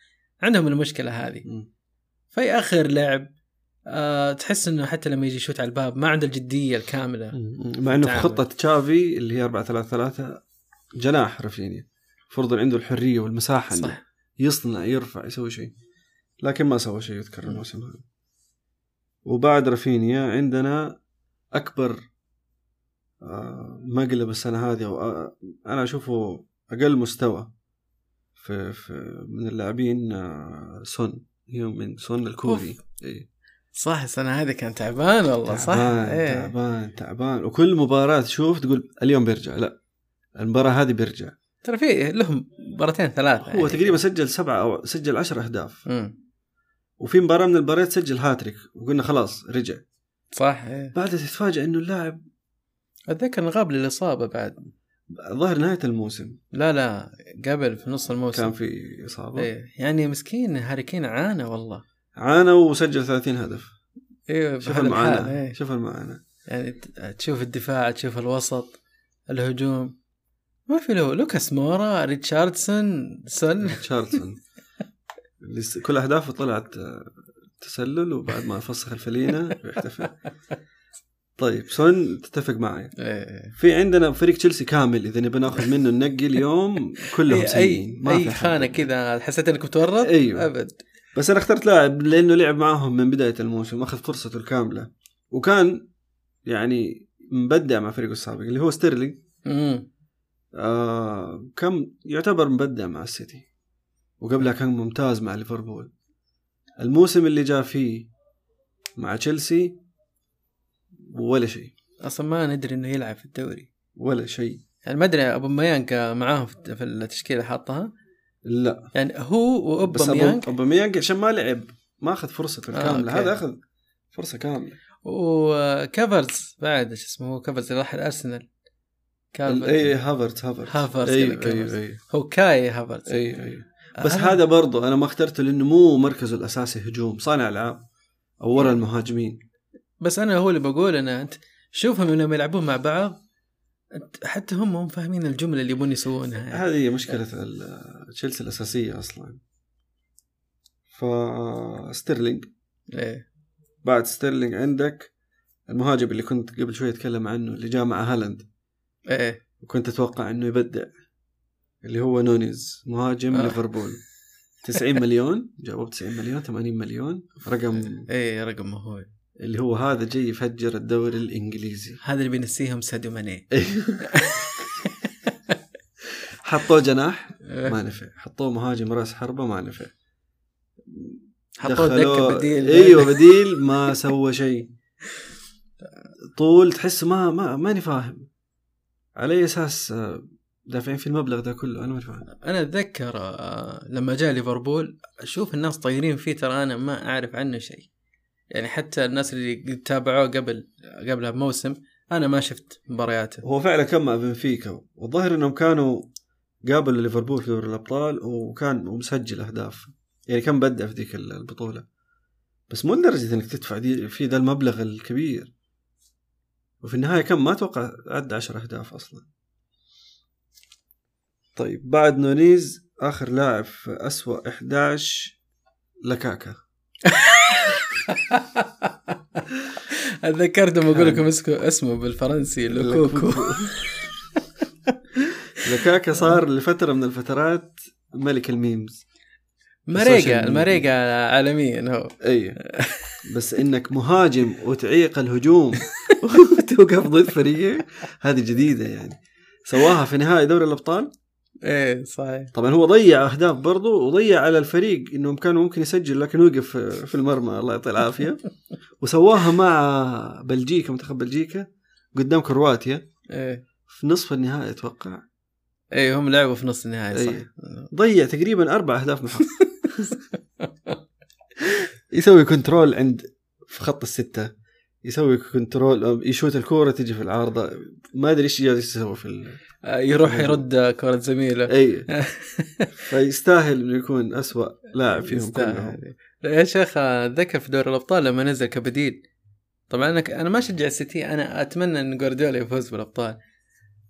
S1: عندهم المشكله هذه
S2: مم.
S1: فيأخر لعب أه تحس انه حتى لما يجي يشوت على الباب ما عنده الجديه الكامله
S2: مع انه في
S1: تعامل.
S2: خطه تشافي اللي هي 4 3 3 جناح رافينيا فرض إن عنده الحريه والمساحه صح.
S1: صح
S2: يصنع يرفع يسوي شيء لكن ما سوى شيء يذكر
S1: مم.
S2: الموسم هذا وبعد رافينيا عندنا اكبر آه، مقلب السنه هذه أو آه، انا اشوفه اقل مستوى في, في من اللاعبين آه، سون هيومن سون الكوري إيه.
S1: صح السنه هذه كان تعبان والله صح
S2: تعبان
S1: إيه.
S2: تعبان تعبان وكل مباراة تشوف تقول اليوم بيرجع لا المباراة هذه بيرجع
S1: ترى في لهم مباراتين ثلاثه
S2: هو تقريبا سجل سبعة أو سجل عشر أهداف
S1: مم.
S2: وفي مباراة من المباريات سجل هاتريك وقلنا خلاص رجع
S1: صح إيه.
S2: بعدها تتفاجأ إنه اللاعب
S1: اتذكر إنه غاب للاصابه بعد
S2: ظهر نهاية الموسم
S1: لا لا قبل في نص الموسم
S2: كان في إصابة
S1: إيه. يعني مسكين هاري كين عانى والله
S2: عانى وسجل 30 هدف
S1: ايوه
S2: شوف
S1: بهذا الحال
S2: المعاناة
S1: إيه.
S2: شوف المعاناة
S1: يعني ت- تشوف الدفاع تشوف الوسط الهجوم ما في له لوكاس مورا ريتشاردسون سن
S2: تشارلسون لس- كل اهدافه طلعت آه، تسلل وبعد ما فسخ الفلينه بيحتفل طيب سون تتفق معي
S1: إيه.
S2: في عندنا فريق تشيلسي كامل اذا نبي ناخذ منه النقي اليوم كلهم
S1: اي
S2: سيئين
S1: اي,
S2: ما في
S1: إيه، أي
S2: حد.
S1: خانه كذا حسيت انك متورط
S2: أيوة.
S1: ابد
S2: بس انا اخترت لاعب لانه لعب معاهم من بدايه الموسم اخذ فرصته الكامله وكان يعني مبدع مع فريقه السابق اللي هو ستيرلينج
S1: امم
S2: آه كم يعتبر مبدع مع السيتي وقبلها كان ممتاز مع ليفربول الموسم اللي جاء فيه مع تشيلسي ولا شيء
S1: اصلا ما ندري انه يلعب في الدوري
S2: ولا شيء
S1: يعني ما ادري ابو ميانك معاهم في في التشكيله حاطها
S2: لا
S1: يعني هو
S2: بس
S1: واوباميانج
S2: أوب- اوباميانج عشان ما لعب ما اخذ فرصته
S1: آه،
S2: الكامله
S1: أوكي.
S2: هذا اخذ فرصه كامله
S1: وكفرز بعد شو اسمه هو كفرز اللي راح الارسنال
S2: ال-
S1: كافرز
S2: اي هافرت هافرت
S1: هافرتز،
S2: اي
S1: كذا آه، كافرتز.
S2: اي
S1: هو كاي هافرز
S2: اي اي إيه، بس هذا برضه انا ما اخترته لانه مو مركزه الاساسي هجوم صانع العاب او
S1: إيه.
S2: ورا المهاجمين
S1: بس انا هو اللي بقول انا انت شوفهم لما يلعبون مع بعض أنت- حتى هم هم فاهمين الجمله اللي يبون يسوونها يعني.
S2: هذه مشكلة ال- تشيلسي الأساسية أصلا فستيرلينج
S1: إيه.
S2: بعد ستيرلينج عندك المهاجم اللي كنت قبل شوي أتكلم عنه اللي جاء مع هالاند
S1: ايه
S2: وكنت اتوقع انه يبدع اللي هو نونيز مهاجم
S1: آه.
S2: ليفربول 90 مليون جابوه 90 مليون 80 مليون رقم
S1: اي إيه، رقم مهول
S2: اللي هو هذا جاي يفجر الدوري الانجليزي
S1: هذا اللي بينسيهم ساديو ماني
S2: حطوه جناح
S1: آه،
S2: ما نفع حطوه مهاجم راس حربه ما نفع
S1: حطوه
S2: دخلوه-
S1: دكه بديل إيه.
S2: ايوه بديل ما سوى شيء طول تحس ما ما ماني فاهم على اي اساس آه، دافعين في المبلغ ده كله انا ماني فاهم
S1: انا اتذكر آه، لما جاء ليفربول اشوف الناس طايرين فيه ترى انا ما اعرف عنه شيء يعني حتى الناس اللي تابعوه قبل قبلها بموسم انا ما شفت مبارياته
S2: هو فعلا كان مع بنفيكا والظاهر انهم كانوا قابلوا ليفربول في دوري الابطال وكان مسجل اهداف يعني كان بدع في ذيك البطوله بس مو لدرجه انك تدفع دي في ذا المبلغ الكبير وفي النهايه كم ما اتوقع عدى 10 اهداف اصلا طيب بعد نونيز اخر لاعب في اسوء 11 لكاكا
S1: اتذكرت لما اقول لكم اسكو- اسمه بالفرنسي لوكوكو
S2: لكاكا صار لفتره من الفترات ملك الميمز
S1: مريقه
S2: السوشيال
S1: المريقه عالميا هو
S2: اي بس انك مهاجم وتعيق الهجوم وتوقف ضد فريقك هذه جديده يعني سواها في نهائي دوري الابطال
S1: ايه صحيح
S2: طبعا هو ضيع اهداف برضه وضيع على الفريق انهم كانوا ممكن يسجل لكن وقف في المرمى الله يعطيه العافيه وسواها مع بلجيكا منتخب بلجيكا قدام كرواتيا
S1: ايه
S2: في نصف النهائي اتوقع
S1: ايه هم لعبوا في نص النهائي صح
S2: إيه. ضيع تقريبا اربع اهداف محقق يسوي كنترول عند في خط السته يسوي كنترول يشوت الكوره تجي في العارضه ما ادري ايش جالس يسوي في ال...
S1: آه، يروح يرد كره زميله
S2: اي فيستاهل انه يكون أسوأ لاعب فيهم
S1: يستاهل.
S2: كلهم
S1: يا شيخ اتذكر في دوري الابطال لما نزل كبديل طبعا انا ك- انا ما اشجع السيتي انا اتمنى ان جوارديولا يفوز بالابطال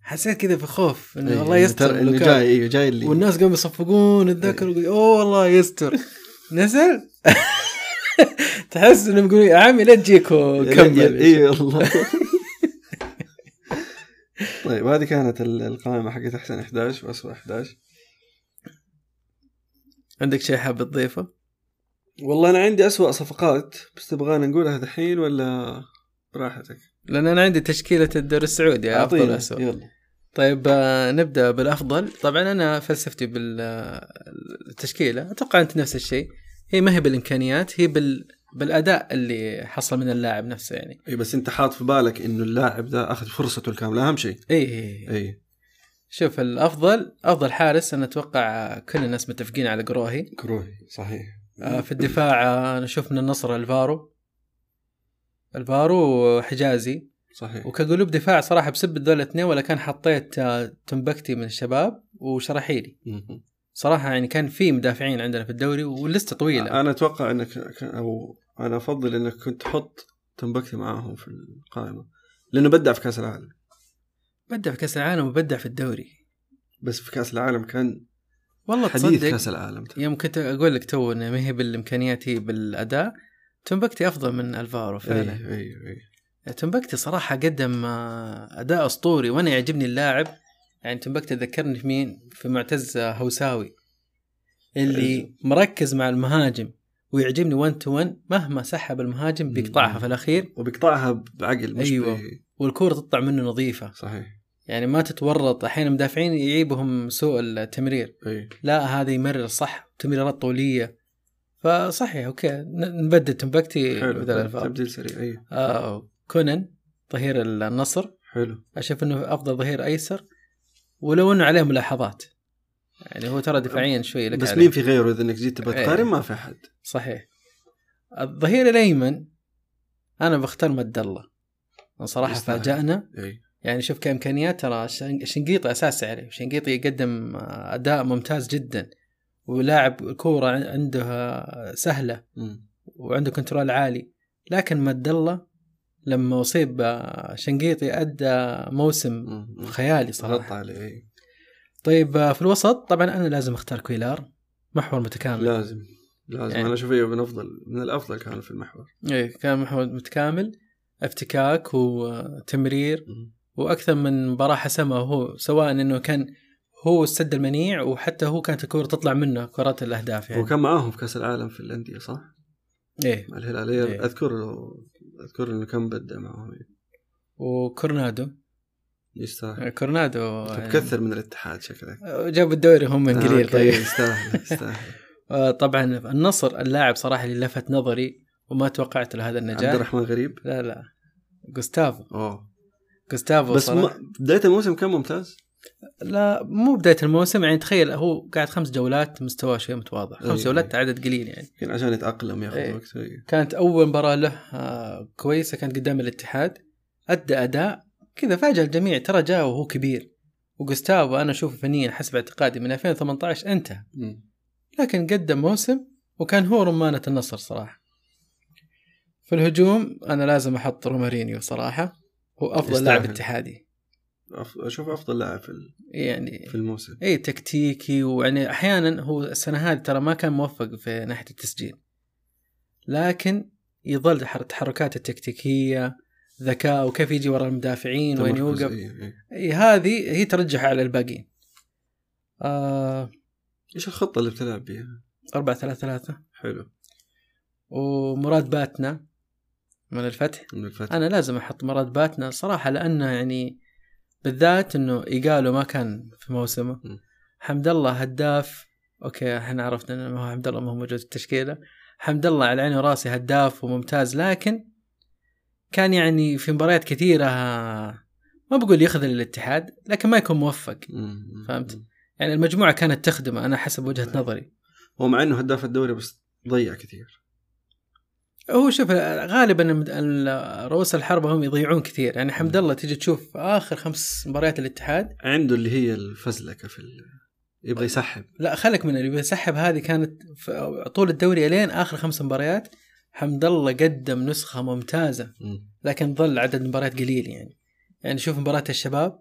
S1: حسيت كذا في خوف انه
S2: إيه،
S1: والله يستر
S2: ترى انه
S1: لوكاكو.
S2: جاي ايوه جاي اللي
S1: والناس قاموا يصفقون اتذكر يقول اوه والله يستر نزل تحس انهم يقولون يا عمي لا تجيك وكمل
S2: اي والله طيب هذه كانت ال- القائمه حقت احسن 11 واسوء 11
S1: عندك شيء حاب تضيفه؟
S2: والله انا عندي أسوأ صفقات بس تبغانا نقولها دحين ولا براحتك
S1: لان انا عندي تشكيله الدوري السعودي افضل
S2: أعطينا.
S1: اسوء
S2: يلا
S1: طيب آه، نبدا بالافضل طبعا انا فلسفتي آه، بالتشكيله اتوقع انت نفس الشيء هي ما هي بالامكانيات هي بال... بالاداء اللي حصل من اللاعب نفسه يعني
S2: اي بس انت حاط في بالك انه اللاعب ده اخذ فرصته الكامله اهم شيء
S1: اي إي.
S2: اي
S1: إيه، شوف الافضل افضل حارس انا اتوقع كل الناس متفقين على قروهي
S2: كروهي صحيح
S1: آه، في الدفاع آه، انا اشوف من النصر الفارو الفارو وحجازي
S2: صحيح
S1: وكقلوب دفاع صراحه بسبب ذول الاثنين ولا كان حطيت آه، تنبكتي من الشباب وشراحيلي
S2: مهم.
S1: صراحه يعني كان في مدافعين عندنا في الدوري واللسته طويله
S2: انا اتوقع انك ك- او انا افضل انك كنت تحط تنبكتي معاهم في القائمه لانه بدع في كاس العالم
S1: بدع في كاس العالم وبدع في الدوري
S2: بس في كاس العالم كان
S1: والله
S2: حديث
S1: تصدق
S2: كاس العالم ترى.
S1: يوم كنت اقول لك تو انه ما هي بالامكانيات هي بالاداء تنبكتي افضل من
S2: إيه.
S1: الفارو فعلا
S2: اي اي اي
S1: تنبكتي صراحه قدم آه، اداء اسطوري وانا يعجبني اللاعب يعني تنبكتي ذكرني في مين في معتز آه، هوساوي
S2: إيه.
S1: اللي مركز مع المهاجم ويعجبني 1 تو 1 مهما سحب المهاجم بيقطعها
S2: مم.
S1: في الاخير
S2: وبيقطعها بعقل مش
S1: أيوة.
S2: ب-
S1: والكوره تطلع منه نظيفه
S2: صحيح
S1: يعني ما تتورط احيانا مدافعين يعيبهم سوء التمرير
S2: اي
S1: لا هذا يمرر صح تمريرات طوليه فصحيح اوكي ن- نبدل تمبكتي
S2: حلو طيب،
S1: بدل الفار
S2: تبديل سريع اي
S1: آه كونان ظهير النصر
S2: حلو
S1: اشوف انه افضل ظهير ايسر ولو انه عليه ملاحظات يعني هو ترى دفاعيا شوي لك
S2: بس
S1: عليه.
S2: مين في غيره اذا انك جيت تبغى
S1: إيه.
S2: تقارن ما في احد
S1: صحيح الظهير الايمن انا بختار مد الله صراحه
S2: يستاهل.
S1: فاجانا
S2: اي
S1: يعني شوف كامكانيات ترى شن- شنقيطي اساسي عليه شنقيطي يقدم اداء ممتاز جدا ولاعب الكوره عن- عنده سهله وعنده كنترول عالي لكن مد الله لما اصيب آه، شنقيطي ادى موسم خيالي
S2: غطى
S1: صراحه
S2: عليه اي
S1: طيب آه، في الوسط طبعا انا لازم اختار كويلار محور متكامل
S2: إيه. لازم لازم
S1: يعني.
S2: انا اشوف ايوه من افضل من الافضل كان في المحور
S1: إيه كان محور متكامل افتكاك وتمرير واكثر من مباراه حسمها هو سواء انه كان هو السد المنيع وحتى هو كانت الكره تطلع منه كرات الاهداف يعني
S2: وكان معاهم في كاس العالم في الانديه صح؟
S1: ايه
S2: مع الهلال
S1: إيه.
S2: إيه. اذكر له اذكر انه كان بدع معاهم يعني.
S1: وكورنادو إيه.
S2: يستاهل
S1: كورنادو يعني
S2: تكثر من الاتحاد شكلك
S1: جابوا الدوري هم من قليل طيب
S2: طيب، آه، أوكي، يستاهل يستاهل
S1: آه، طبعا النصر اللاعب صراحه اللي لفت نظري وما توقعت له هذا
S2: عبد
S1: النجاح
S2: الرحمن غريب
S1: لا لا جوستافو
S2: اوه
S1: جوستافو
S2: بس
S1: صراحة.
S2: ما بدايه الموسم كان ممتاز
S1: لا مو بدايه الموسم يعني تخيل هو قاعد خمس جولات مستواه شيء متواضع خمس
S2: أي-
S1: جولات عدد قليل يعني
S2: يمكن عشان يتاقلم ياخذ
S1: إيه.
S2: وقت إيه.
S1: كانت اول مباراه له آه، كويسه كانت قدام الاتحاد ادى اداء كذا فاجأ الجميع ترى جاء وهو كبير وجوستافو انا اشوفه فنيا حسب اعتقادي من 2018 انتهى
S2: مم.
S1: لكن قدم موسم وكان هو رمانة النصر صراحة في الهجوم أنا لازم أحط رومارينيو صراحة هو أفضل لاعب
S2: يستاهل.
S1: اتحادي
S2: أف- اشوف افضل لاعب في ال-
S1: يعني
S2: في الموسم
S1: أي تكتيكي ويعني أحيانا هو السنة هذه ترى ما كان موفق في ناحية التسجيل لكن يظل تحر- تحركاته التكتيكية ذكاء وكيف يجي ورا المدافعين وين
S2: تمركز،
S1: يوقف
S2: إيه، إيه.
S1: إي، هذه هي ترجح على الباقيين آه
S2: ايش الخطه اللي بتلعب بيها؟
S1: 4 3 3
S2: حلو
S1: ومراد باتنا من الفتح
S2: من الفتح
S1: انا لازم احط مراد باتنا صراحه لانه يعني بالذات انه ايجالو ما كان في موسمه
S2: م.
S1: حمد الله هداف اوكي احنا عرفنا انه ما هو حمد الله ما هو موجود في التشكيله حمد الله على عيني وراسي هداف وممتاز لكن كان يعني في مباريات كثيره ما بقول يخذل الاتحاد لكن ما يكون موفق
S2: مم.
S1: فهمت. يعني المجموعه كانت تخدمه انا حسب وجهه نظري
S2: هو مع انه هداف الدوري بس ضيع كثير
S1: هو شوف غالبا المد- ال- رؤوس الحربة هم يضيعون كثير يعني حمد الله تيجي تشوف اخر خمس مباريات الاتحاد
S2: عنده اللي هي الفزلكه في ال... يبغى يسحب
S1: لا خلك من اللي بيسحب هذه كانت في- طول الدوري الين اخر خمس مباريات حمد الله قدم نسخة ممتازة
S2: مم.
S1: لكن ظل عدد المباريات قليل يعني يعني شوف مباراة الشباب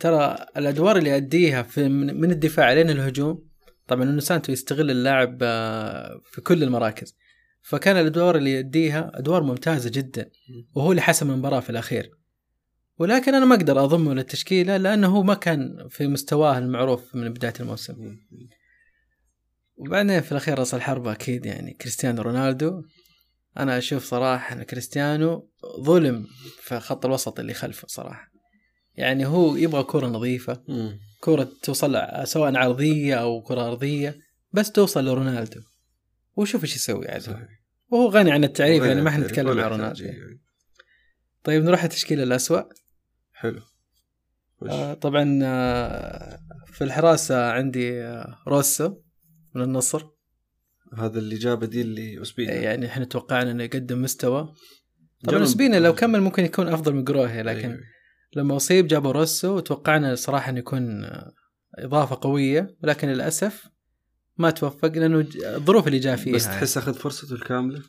S1: ترى الادوار اللي يأديها في من من الدفاع لين الهجوم طبعا انه سانتو يستغل اللاعب آه، في كل المراكز فكان الادوار اللي يأديها ادوار ممتازة جدا وهو اللي حسم المباراة في الأخير ولكن أنا ما أقدر أضمه للتشكيلة لأنه هو ما كان في مستواه المعروف من بداية الموسم
S2: مم.
S1: وبعدين في الأخير رأس الحربة أكيد يعني كريستيانو رونالدو أنا أشوف صراحة أن كريستيانو ظلم في خط الوسط اللي خلفه صراحة يعني هو يبغى كرة نظيفة
S2: مم.
S1: كرة توصل سواء عرضية أو كرة أرضية بس توصل لرونالدو وشوف ايش يسوي عاد
S2: صحيح
S1: وهو غني عن التعريف
S2: غير
S1: يعني ما احنا
S2: يحتاج-
S1: نتكلم
S2: ولا
S1: عن
S2: يحتاج،
S1: رونالدو
S2: إيه.
S1: طيب نروح التشكيلة الأسوأ
S2: حلو وش؟
S1: آه، طبعا آه، في الحراسه عندي آه، روسو من النصر
S2: هذا اللي جاب بديل لاسبينا
S1: يعني احنا توقعنا انه يقدم مستوى إيه. طبعا
S2: جرب.
S1: اسبينا لو كمل ممكن يكون افضل من جروهي لكن
S2: أيوة.
S1: لما اصيب جابوا روسو وتوقعنا صراحه انه يكون آه، اضافه قويه ولكن للاسف ما توفق لانه ج- الظروف اللي جاء فيها يعني.
S2: بس تحس اخذ فرصته الكامله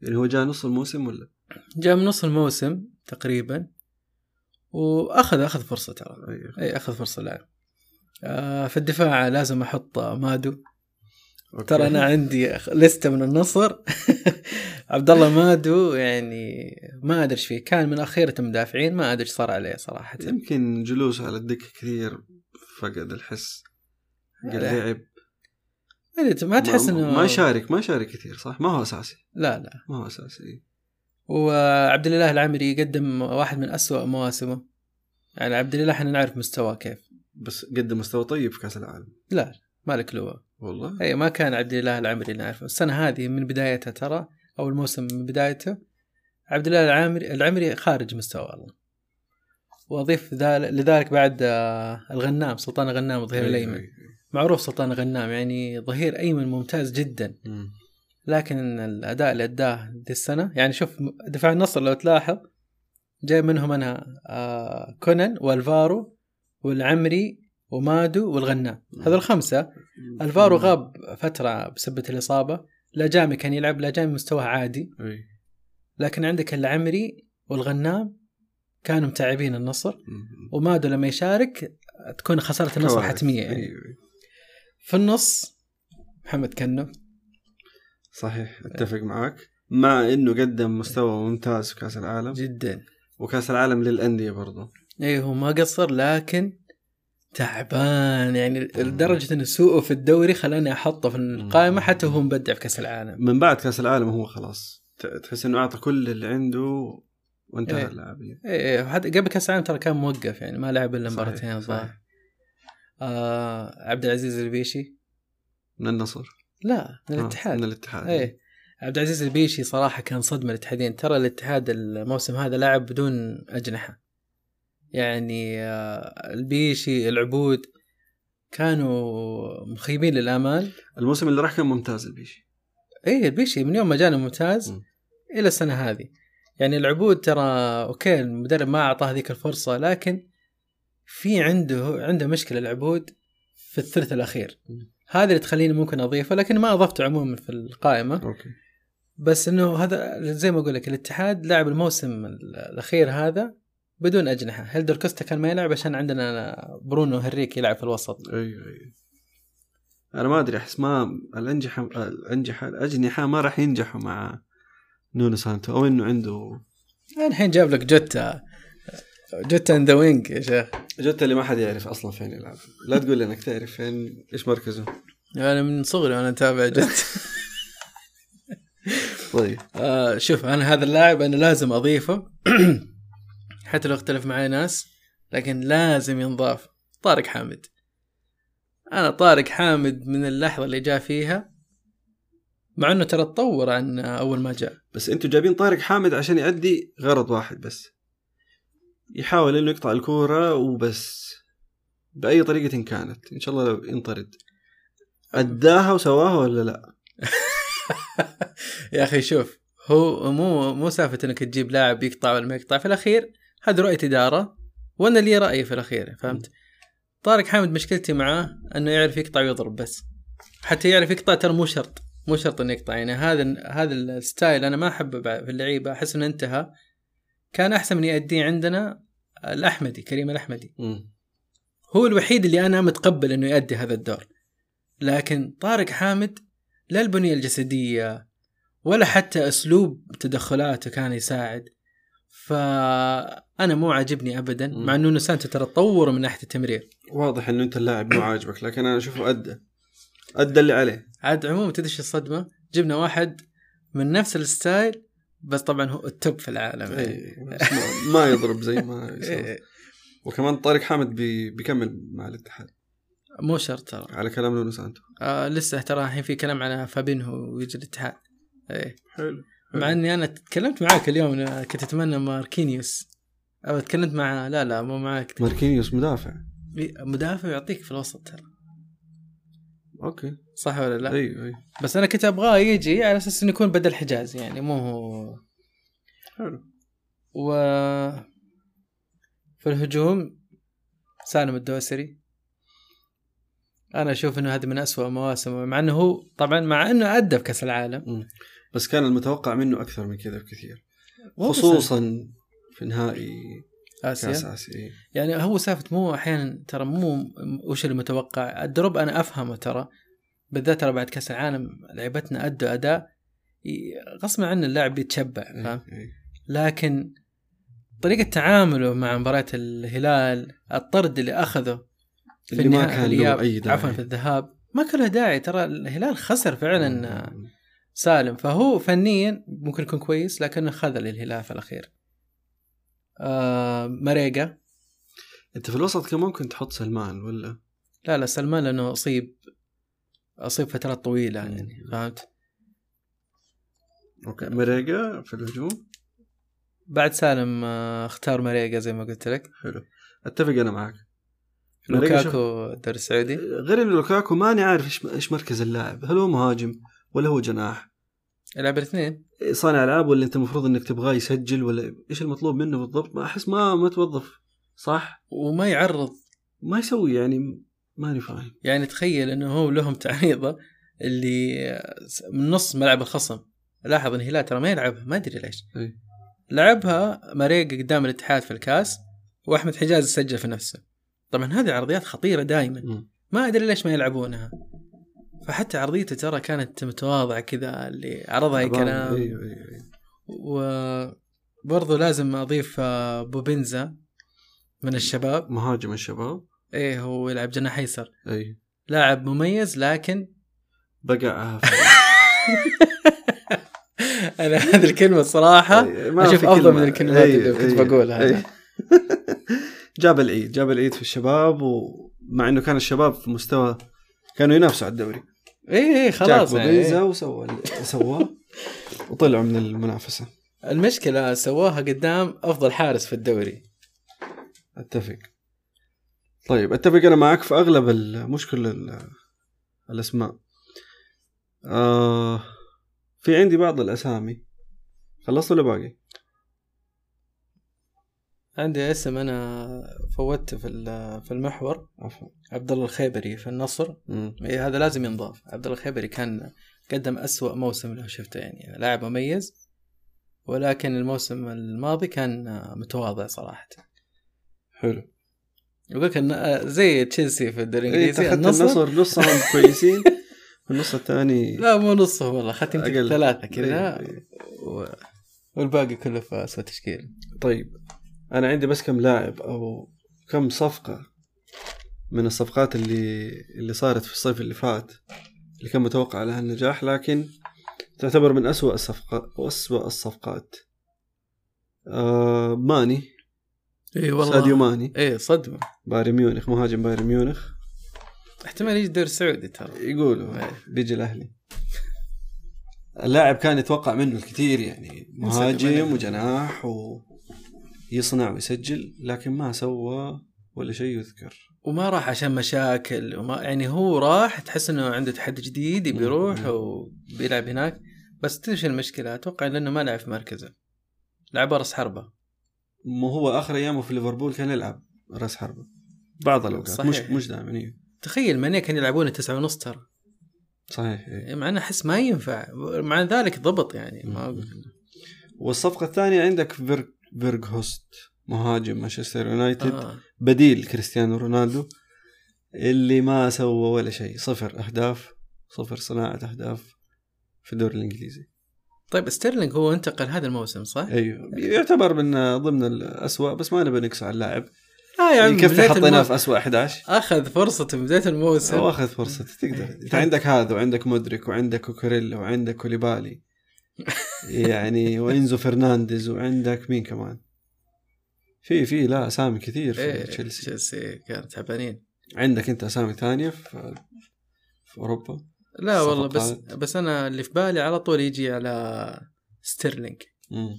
S2: يعني هو جاء نص الموسم ولا
S1: جاء من نص الموسم تقريبا واخذ اخذ فرصه ترى إيه،
S2: أيوة.
S1: اي اخذ فرصه لعب آه، في الدفاع لازم احط آه، مادو
S2: أوكي.
S1: ترى انا عندي أخ- لسته من النصر عبد الله مادو يعني ما ادري ايش فيه كان من اخيره المدافعين ما ادري ايش صار عليه صراحه
S2: يمكن جلوسه على الدكه كثير فقد الحس قد
S1: لا.
S2: لعب
S1: ما أدري، ما تحس
S2: ما-
S1: انه
S2: ما يشارك ما يشارك كثير صح ما هو اساسي
S1: لا لا
S2: ما هو اساسي
S1: وعبد الله العمري قدم واحد من أسوأ مواسمه يعني عبد الله احنا نعرف مستواه كيف
S2: بس قدم مستوى طيب في كاس العالم
S1: لا مالك لوى
S2: والله
S1: اي إيه، ما كان عبد الله العمري اللي نعرفه السنه هذه من بدايتها ترى او الموسم من بدايته عبد الله العامري العمري خارج مستوى والله واضيف ذل- لذلك بعد آه، الغنام سلطان الغنام الظهير
S2: أيوة،
S1: الايمن
S2: أيوة.
S1: معروف سلطان الغنام يعني ظهير ايمن ممتاز جدا
S2: إيه. مم.
S1: لكن الاداء اللي اداه دي السنه يعني شوف دفاع النصر لو تلاحظ جاي منهم انا آه، كونان والفارو والعمري ومادو والغنام هذول الخمسه الفارو غاب فترة بسبة الإصابة لا جامي كان يلعب لا جامي مستواه عادي
S2: أيوة.
S1: لكن عندك العمري والغنام كانوا متعبين النصر
S2: مم.
S1: ومادو لما يشارك تكون خسارة النصر
S2: كوارث.
S1: حتمية يعني
S2: أيوة.
S1: في النص محمد كنو
S2: صحيح اتفق معك مع انه قدم مستوى ممتاز في كاس العالم
S1: جدا
S2: وكاس العالم للانديه برضه
S1: اي إيه، هو ما قصر لكن تعبان يعني لدرجه ان سوءه في الدوري خلاني احطه في القائمه حتى وهو مبدع في كاس العالم
S2: من بعد كاس العالم هو خلاص ت- تحس انه اعطى كل اللي عنده وانتهى
S1: إيه.
S2: اللاعبين
S1: اي إي، حتى قبل كاس العالم ترى كان موقف يعني ما لعب الا
S2: صحيح،
S1: مباراتين
S2: صحيح.
S1: صح آه عبد العزيز البيشي
S2: من النصر
S1: لا من
S2: آه،
S1: الاتحاد
S2: من الاتحاد
S1: ايه عبد العزيز البيشي صراحه كان صدمه للاتحادين ترى الاتحاد الموسم هذا لاعب بدون اجنحه يعني آه، البيشي العبود كانوا مخيبين للامال
S2: الموسم اللي راح كان ممتاز البيشي
S1: ايه البيشي من يوم ما جانا ممتاز
S2: مم.
S1: الى السنه هذه يعني العبود ترى اوكي المدرب ما اعطاه هذيك الفرصه لكن في عنده عنده مشكله العبود في الثلث الاخير
S2: مم.
S1: هذا اللي تخليني ممكن اضيفه لكن ما اضفته عموما في القائمه
S2: اوكي
S1: بس انه هذا زي ما اقول لك الاتحاد لعب الموسم ال- الاخير هذا بدون اجنحه هيلدر كوستا كان ما يلعب عشان عندنا برونو هنريك يلعب في الوسط
S2: ايوه ايوه انا ما ادري احس ما الانجحه الانجحه الاجنحه ما راح ينجحوا مع نونو سانتو او انه عنده
S1: يعني الحين جاب لك جوتا جوتا ان ذا وينج يا شيخ
S2: جوتا اللي ما حد يعرف اصلا فين يلعب لا تقول لي انك تعرف فين ايش مركزه
S1: انا يعني من صغري وانا اتابع جوتا
S2: طيب
S1: آه شوف انا هذا اللاعب انا لازم اضيفه حتى لو اختلف معي ناس لكن لازم ينضاف طارق حامد انا طارق حامد من اللحظه اللي جاء فيها مع انه ترى تطور عن اول ما جاء
S2: بس انتوا جايبين طارق حامد عشان يأدي غرض واحد بس يحاول انه يقطع الكورة وبس بأي طريقة إن كانت إن شاء الله لو ينطرد أداها وسواها ولا لا
S1: يا اخي شوف هو مو مو سالفه انك تجيب لاعب يقطع ولا ما يقطع في الاخير هذه رؤيه اداره وانا لي رايي في الاخير فهمت؟ طارق حامد مشكلتي معاه انه يعرف يقطع ويضرب بس حتى يعرف يقطع ترى مو شرط مو شرط انه يقطع يعني هذا هذا الستايل انا ما احبه بعد في اللعيبه احس انه انتهى كان احسن من يأديه عندنا الاحمدي كريم الاحمدي هو الوحيد اللي انا متقبل انه يؤدي هذا الدور لكن طارق حامد لا البنيه الجسديه ولا حتى اسلوب تدخلاته كان يساعد فانا مو عاجبني ابدا
S2: مم.
S1: مع انه نسانتو ترى تطور من ناحيه التمرير
S2: واضح إنه أنت اللاعب مو عاجبك لكن أنا أشوفه أدى أدى اللي عليه
S1: عاد عموما تدش الصدمه جبنا واحد من نفس الستايل بس طبعا هو التوب في العالم يعني.
S2: إيه، بس ما- ما يضرب زي ما يسوي
S1: إيه،
S2: وكمان طارق حامد بي بيكمل مع الاتحاد
S1: مو شرط ترى
S2: على كلام نونو سانتو
S1: آه لسه ترى الحين في كلام على فابينهو ويجي الاتحاد ايه
S2: حلو
S1: مع اني انا تكلمت معاك اليوم أنا كنت اتمنى ماركينيوس او تكلمت مع لا لا مو معاك إيه،
S2: ماركينيوس مدافع
S1: مدافع يعطيك في الوسط ترى
S2: اوكي
S1: صح ولا لا؟
S2: ايوه ايوه
S1: بس انا كنت ابغاه يجي على اساس انه يكون بدل حجاز يعني مو هو
S2: حلو
S1: و في الهجوم سالم الدوسري انا اشوف انه هذه من أسوأ مواسمه مع انه هو طبعا مع انه ادى في كاس العالم
S2: بس كان المتوقع منه اكثر من كذا بكثير
S1: مو بس
S2: خصوصا في نهائي
S1: اسيا
S2: كاس اسيا إيه.
S1: يعني هو سالفه مو احيانا ترى مو وش المتوقع الدروب انا افهمه ترى بالذات ترى بعد كاس العالم لعبتنا ادوا اداء ي- غصب عنه اللاعب يتشبع فاهم
S2: إيه. إيه.
S1: لكن طريقه تعامله مع مباراه الهلال الطرد اللي اخذه في
S2: اللي ما
S1: النهائي-
S2: كان
S1: الإياب،
S2: له اي داعي
S1: عفوا في الذهاب ما كان له داعي ترى الهلال خسر فعلا
S2: مم.
S1: سالم فهو فنيا ممكن يكون كويس لكنه خذل الهلال في الاخير آه مريقه
S2: انت في الوسط كان ممكن تحط سلمان ولا
S1: لا لا سلمان لانه اصيب اصيب فترات طويله يعني فهمت
S2: اوكي مريقة في الهجوم
S1: بعد سالم آه، اختار مريقه زي ما قلت لك
S2: حلو اتفق انا معك مريقة شوف-
S1: لوكاكو الدوري السعودي
S2: غير ان لوكاكو ماني عارف ايش ايش مركز اللاعب هل هو مهاجم ولا هو جناح
S1: يلعب الاثنين
S2: إيه، صانع العاب ولا انت المفروض انك تبغاه يسجل ولا ايش المطلوب منه بالضبط ما احس ما ما توظف صح
S1: وما يعرض
S2: ما يسوي يعني ماني فاهم
S1: يعني تخيل انه هو لهم تعريضه اللي آه، من نص ملعب الخصم لاحظ ان هلال ترى ما يلعبها ما ادري ليش
S2: إيه.
S1: لعبها مريقه قدام الاتحاد في الكاس واحمد حجاز سجل في نفسه طبعا هذه عرضيات خطيره دائما
S2: مم.
S1: ما ادري ليش ما يلعبونها فحتى عرضيته ترى كانت متواضعه كذا اللي عرضها اي كلام
S2: ايوه ايوه أيوه.
S1: وبرضه لازم اضيف آه، بوبنزا من الشباب
S2: مهاجم الشباب
S1: ايه هو يلعب جناح ايسر
S2: اي
S1: لاعب مميز لكن
S2: بقى عافية.
S1: انا هذه الكلمه الصراحه
S2: أي، إيه، ما
S1: اشوف
S2: في
S1: افضل
S2: كلمة.
S1: من الكلمات
S2: أي،
S1: اللي كنت
S2: أي،
S1: بقولها
S2: أي.
S1: أنا.
S2: جاب العيد جاب العيد في الشباب ومع انه كان الشباب في مستوى كانوا ينافسوا على الدوري
S1: ايه ايه خلاص
S2: خلاص
S1: يعني
S2: بوبيزا
S1: إيه.
S2: وسوى سواه وطلعوا من المنافسه
S1: المشكله سواها قدام افضل حارس في الدوري
S2: اتفق طيب اتفق انا معك في اغلب ال- مش كل ال- الاسماء آه في عندي بعض الاسامي خلصت ولا باقي؟
S1: عندي اسم انا فوتته في ال- آه، في المحور
S2: عفوا
S1: عبد الله الخيبري في النصر
S2: مم.
S1: إيه هذا لازم ينضاف عبد الله الخيبري كان قدم أسوأ موسم له شفته يعني لاعب مميز ولكن الموسم الماضي كان آه، متواضع صراحة
S2: حلو
S1: وذاك الن- آه، زي تشيلسي في الدوري
S2: إيه،
S1: الانجليزي
S2: أخذت
S1: النصر,
S2: النصر نصهم كويسين والنص الثاني
S1: لا مو نصهم والله اخذت يمكن
S2: أقل.
S1: ثلاثة كذا
S2: إيه، إيه.
S1: و... والباقي كله في اسوء تشكيل
S2: طيب انا عندي بس كم لاعب او كم صفقه من الصفقات اللي اللي صارت في الصيف اللي فات اللي كان متوقع لها النجاح لكن تعتبر من أسوأ الصفقات أسوأ الصفقات آه ماني
S1: اي
S2: ساديو ماني
S1: اي إيه، صدمة
S2: بايرن ميونخ مهاجم بايرن ميونخ
S1: احتمال يجي الدوري السعودي ترى
S2: يقولوا إيه، بيجي الأهلي اللاعب كان يتوقع منه الكثير يعني
S1: ساديو
S2: مهاجم
S1: ماني.
S2: وجناح ويصنع ويسجل لكن ما سوى ولا شيء يذكر
S1: وما راح عشان مشاكل وما يعني هو راح تحس انه عنده تحدي جديد يبي يروح
S2: مم.
S1: وبيلعب هناك بس تدري شو المشكله اتوقع لانه ما لعب في مركزه لعب راس حربه
S2: ما هو اخر ايامه في ليفربول كان يلعب راس حربه بعض الاوقات
S1: صحيح.
S2: مش مش دائما إيه.
S1: تخيل مانيا كان يلعبونه تسعة ونص ترى يعني
S2: صحيح إيه.
S1: مع انه احس ما ينفع مع ذلك ضبط يعني ما
S2: مم. والصفقه الثانيه عندك فيرغ فيرغ هوست مهاجم مانشستر يونايتد آه.
S1: آه.
S2: بديل كريستيانو رونالدو اللي ما سوى ولا شيء صفر اهداف صفر صناعه اهداف في الدوري الانجليزي
S1: طيب ستيرلينج هو انتقل هذا الموسم صح؟
S2: ايوه يعتبر من ضمن الاسوء بس ما نبي نكس على اللاعب
S1: اه يا عمي
S2: يكفي
S1: بداية
S2: حطيناه
S1: الموسم.
S2: في اسوء 11
S1: اخذ فرصته في بدايه
S2: هو
S1: الموسم
S2: اخذ فرصته تقدر انت عندك هذا وعندك مودريك وعندك كوكوريلا وعندك كوليبالي يعني وانزو فرنانديز وعندك مين كمان في في لا اسامي كثير في
S1: إيه،
S2: تشيلسي
S1: تشيلسي كانوا تعبانين
S2: عندك انت اسامي ثانيه في في اوروبا
S1: لا والله بس
S2: صفقات.
S1: بس انا اللي في بالي على طول يجي على ستيرلينج
S2: مم.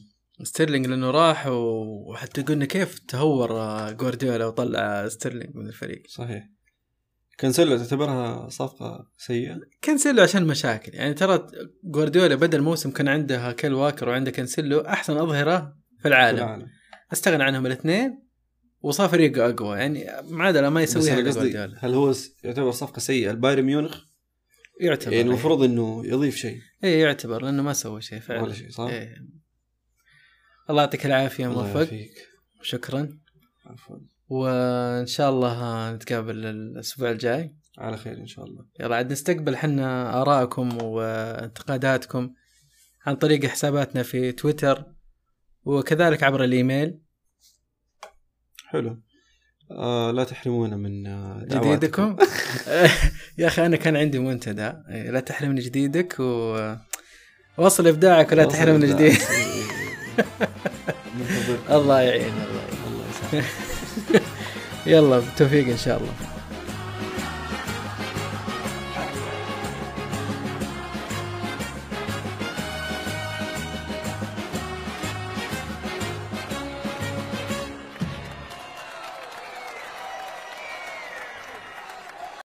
S1: ستيرلينج لانه راح و- وحتى قلنا كيف تهور آه، جوارديولا وطلع آه، ستيرلينج من الفريق
S2: صحيح كانسيلو تعتبرها صفقه سيئه
S1: كانسيلو عشان مشاكل يعني ترى جوارديولا بدا الموسم كان عنده كيل واكر وعنده كانسيلو احسن اظهره في
S2: في
S1: العالم,
S2: العالم
S1: استغنى عنهم الاثنين وصار فريقه اقوى يعني معادله ما
S2: بس
S1: يسويها
S2: انا قصدي
S1: جوارديولا
S2: هل هو س- يعتبر صفقه سيئه البايرن ميونخ
S1: يعتبر
S2: يعني المفروض انه يضيف شيء
S1: اي يعتبر لانه ما سوى شيء فعلا
S2: ولا شيء صح؟
S1: إيه. الله يعطيك العافيه
S2: الله
S1: موفق
S2: يعافيك.
S1: شكرا
S2: عفوا
S1: وان شاء الله نتقابل الاسبوع الجاي
S2: على خير ان شاء الله
S1: يلا عاد نستقبل حنا ارائكم وانتقاداتكم عن طريق حساباتنا في تويتر وكذلك عبر الايميل
S2: حلو آه لا تحرمونا من آه، دعواتكم.
S1: جديدكم يا اخي انا كان عندي منتدى إيه، لا تحرمني جديدك و واصل ابداعك ولا
S2: خلاص
S1: تحرمني
S2: لا. إيه،
S1: جديد
S2: منتظركم.
S1: الله يعين الله يعين
S2: الله يسعدك
S1: يلا بالتوفيق ان شاء الله